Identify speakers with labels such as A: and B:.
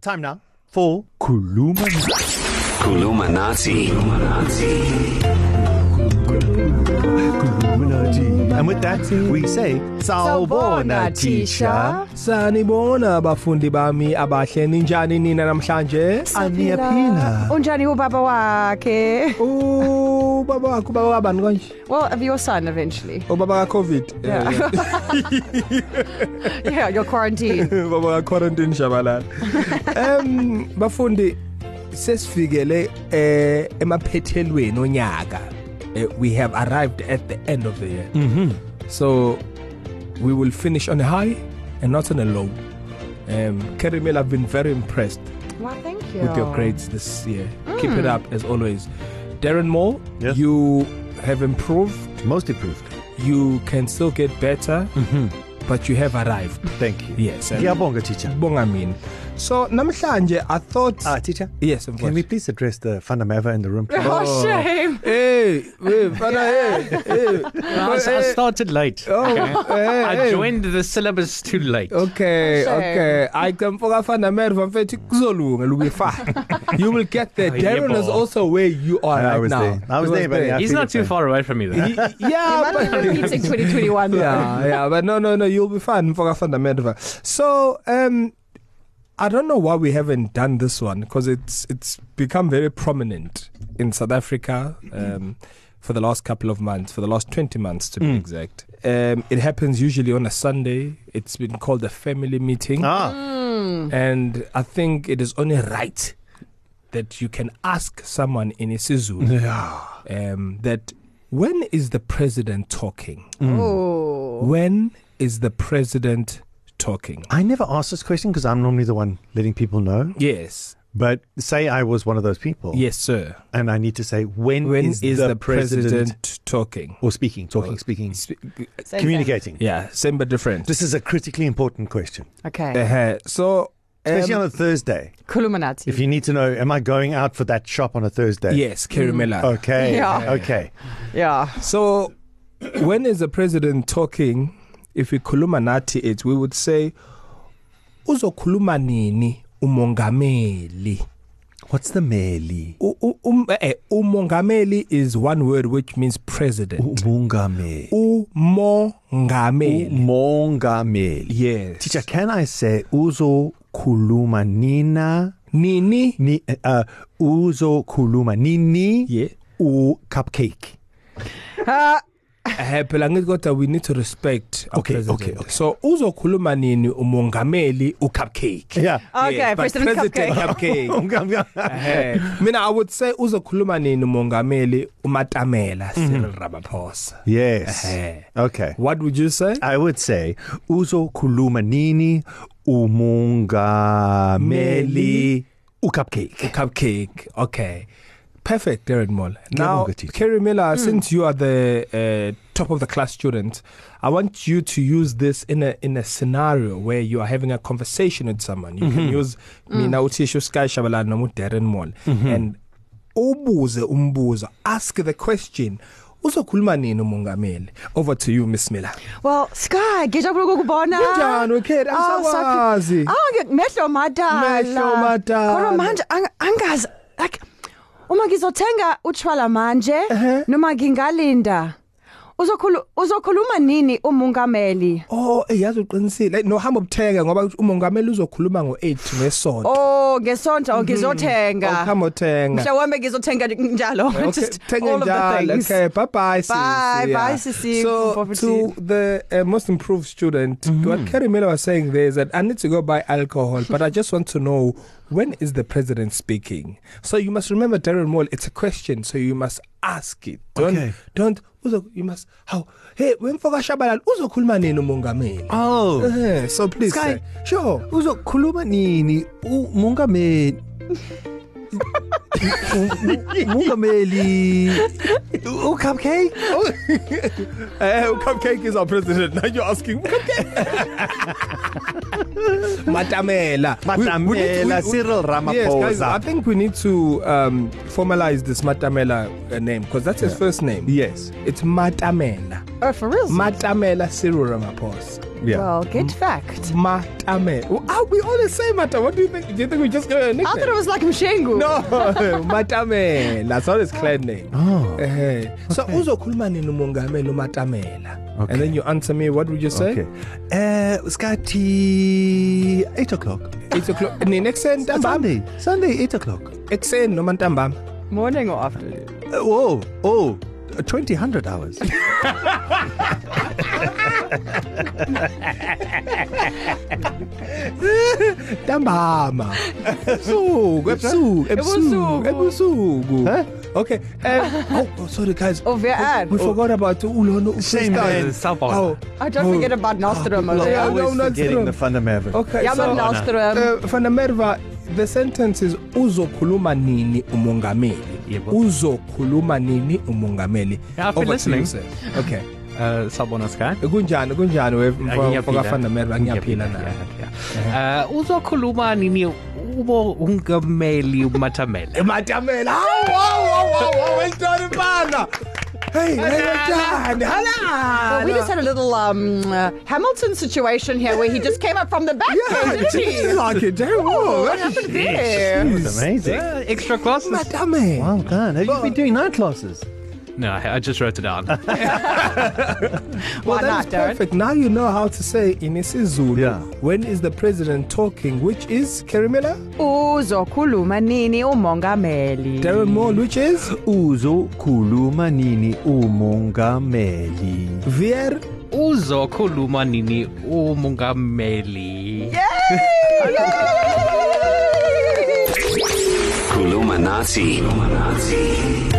A: Time now for Kuluma.
B: Kulumanati.
A: And with that, we say Sawbona Tisha.
C: Sanibona abafundi bami abahle ninjani nina namhlanje?
A: Aniyaphila.
D: Unjani ubaba wakhe?
C: U Oh, baba wakho baba kabani kanje?
D: Well, of your son eventually.
C: Ubaba ka COVID.
D: Yeah.
C: Eh,
D: Yeah, your quarantine.
C: yeah. Baba ka quarantine shabalala. Em bafundi sesifikele eh emaphethelweni onyaka. Eh, We have arrived at the end of the year. Mhm. So we will finish on a high and not on a low. Um Kerimel I've been very impressed
D: Well, thank you.
C: with your grades this year. Mm. Keep it up as always. Darren Moore,
A: Yes.
C: yes. you have improved.
A: Most improved.
C: You can still get better, mm-hmm. but you have arrived.
A: Thank you.
C: Yes. and-
A: Ngiyabonga teacher.
C: Bonga mina. So namhlanje I thought
A: Ah teacher,
C: yes, of
A: can
C: course.
A: we please address the fundameva in the room? please?
D: Oh, shame.
C: Hey, hey, fana, hey, hey.
E: I, s- I
C: Hey,
E: started late.
C: Oh, hey,
E: I
C: hey. Oh,
E: joined the syllabus too late.
C: Okay,
D: Shame.
C: okay. I can for fana merva mfethu kuzolunga lube fa. You will get there.
E: Ay, yebo.
C: Darren is also where you are
A: I
C: right
A: was
C: now.
A: there. I was
C: He
A: there, buddy. I
E: He's
A: feel
E: not
A: your
E: too
A: pain.
E: far away from me though.
C: Y- Yeah,
D: I'm not
C: but
D: repeating 2021.
C: yeah, yeah, but no, no, no, you'll be fine for a fundamental. So, um, I don't know why we haven't done this one because it's it's become very prominent in South Africa um, for the last couple of months, for the last twenty months to mm. be exact. Um, it happens usually on a Sunday. It's been called a family meeting, ah.
A: Ah,
C: and I think it is only right that you can ask someone in isiZulu
A: yeah.
C: um, that when is the president talking. Mm.
D: Oh.
C: When is the president talking?
A: I never ask this question because I'm normally the one letting people know.
C: Yes.
A: But say I was one of those people,
C: Yes, sir.
A: and I need to say when,
C: When
A: is, is the, the president, president
C: president talking?
A: or speaking, talking, speaking,
D: Same
A: communicating. Yeah.
C: Yeah, same but different.
A: This is a critically important question,
D: thing. Okay.
C: uh-huh. So
A: especially um,
C: um,
A: on a Thursday.
D: Kulumanati.
A: If you need to know, am I going out for that shop on a Thursday?
C: yes, Kerimela. Mm.
A: Okay.
D: Yeah.
A: Okay.
D: Yeah.
C: So when is the president talking? If we khuluma nathi it we would say uzokhuluma nini umongameli?
A: What's the meli?
C: U- u- um, eh, eh, umongameli is one word which means president.
A: Umongameli.
C: Umongameli.
A: Umongameli.
C: Yes.
A: Teacher, can I say uzo kuluma nina
C: Nini?
A: ni uh, uzo kuluma nini
C: Yeah.
A: u cupcake?
D: Uh,
C: Eh phela ngithi kodwa we need to respect our
A: Okay,
C: president.
A: okay, okay.
C: So uzokhuluma nini umongameli ucupcake?
A: Yeah.
D: okay,
C: Yes,
D: yes,
C: but
D: President,
C: president
D: president Cupcake.
C: cupcake.
A: Umongam-
C: Eh, mina I would say uzokhuluma nini umongameli umatamela Cyril
A: Mm-hmm.
C: Ramaphosa.
A: yes.
C: Eh.
A: Okay.
C: What would you say?
A: I would say uzo kuluma nini umongameli u cupcake.
C: Cupcake. Okay. Perfect, Darren Moll. Now,
A: Ngiyabonga, teacher.
C: Kerry Miller, mm. since you are the uh, top of the class student, I want you to use this in a in a scenario where you are having a conversation with someone. You mm-hmm. can use mm. mina uthisho Sky Shabalala noma uDarren Moll mm-hmm. and ubuze umbuzo, ask the question. Uzokhuluma nini umongameli? Over to you, Miss Miller.
D: Well, Sky, ngijabula ukukubona.
C: Kunjani, Kate? Angisawazi.
D: Ah, ngimehlo madala.
C: Mehlo madala.
D: Kodwa manje ang- angazi like uma ngizothenga utshwala manje noma ngingalinda. Uzokhulu uzokhuluma nini umungameli?
C: Oh, eyazi uqinisile. Nohamba ubuthenga ngoba umongameli uzokhuluma ngo8 ngesonto.
D: Oh, ngesonto oh,
C: Mhm.
D: ngizothenga.
C: Awukhamba uthenga.
D: Mhla wami ngizothenga njalo.
C: Okay,
D: Just
C: thank you,
D: all of the
C: Njal.
D: things.
C: Okay, bye bye.
D: Bye, bye, sissy.
C: So,
D: Poverty.
C: to the uh, most improved student, mm-hmm. what Kerry Miller was saying there is that I need to go buy alcohol, but I just want to know when is the president speaking? So, you must remember, Darren Moore, it's a question, so you must ask it. Don't,
A: Okay.
C: don't, uzo, you must, how, hey, when for Shabalal, uzokhuluma nini umongameli?
A: Oh.
C: Uh, so, please,
A: Sky.
C: sir. sure.
A: uzokhuluma nini umongameli umongameli
C: Oh,
A: ucupcake
C: Uh, cupcake is our president. Now you're asking cupcake. Matamela.
A: Matamela, Cyril
C: Yes, guys,
A: Ramaphosa.
C: I think we need to um, formalize this Matamela uh, name because that's his yeah. first name.
A: yes
C: It's Matamela.
D: Oh, for real.
C: Matamela Cyril Ramaphosa. Yeah.
D: Well, good fact.
C: Matame. Ah, we always say Matame. What do you think? Do you think we just got a nickname?
D: I thought it was like Mshengu.
C: No, Matamela. That's not his clan name.
A: Oh.
C: Okay. So uzokhuluma nini umongameli uMatamela? Okay. And then you answer me what would you say?
A: Okay. Uh, skati 8 o'clock.
C: 8 o'clock. Nini ekuseni
A: On
C: ntambama?
A: Sunday. Sunday 8 o'clock.
C: Ekuseni noma ntambama?
D: Morning or afternoon?
A: Uh, whoa. Oh. 20 hundred hours.
C: Ntambama. Ebusuku, ebusuku, ebusuku, ebusuku. Huh? Okay. Um, oh, oh, sorry guys.
D: Of your ad.
C: We forgot about uLono
A: Shame,
C: uFreestyle.
A: man.
E: Sabona.
C: Oh.
D: I don't forget about Nostromo.
A: Look,
C: Yeah,
A: I
D: Yeah,
C: Oh, no,
A: always
C: no, it's true.
A: forgetting the fun of Oh, Maverick.
C: Okay.
D: yeah but Nostromo.
C: uh, Fanamerva the sentence is uzokhuluma nini umongameli
E: Yebo.
C: uzokhuluma nini umongameli
E: Yeah, I've been
C: Over to
E: listening.
C: you, sir. okay
E: Uh, sabona sky
C: kunjani kunjani
E: Ngiyaphila.
C: wemfoka Fanamerva ngiyaphila
E: Ngiyaphila,
C: naye
E: yeah, yeah. Uh, uzokhuluma nini ubo ungameli umatamela
C: ematamela hawu hawu hawu hawu wentoni bana hey
D: Well,
C: wentani
D: we just had
C: hala
D: a little um, uh, Hamilton situation here where he just came up from the back.
C: yeah
D: didn't
C: it's
D: he?
C: like it
D: Oh, what
C: oh
D: happened there?
A: It's amazing.
E: uh, extra classes
C: matamela
A: Wow, God. Have you been doing night classes?
E: no I, I just wrote it down
D: Why
C: Well, that
D: not,
C: is
D: Darren?
C: perfect. Now you know how to say in isiZulu.
A: Yeah.
C: When is the president talking? Which is Kerimela?
D: Uzokhuluma nini umongameli?
C: Darren Moore, which is
A: Uzokhuluma nini umongameli?
C: Vier.
E: uzokhuluma nini umungameli
B: Kulumanati. Kulumanati.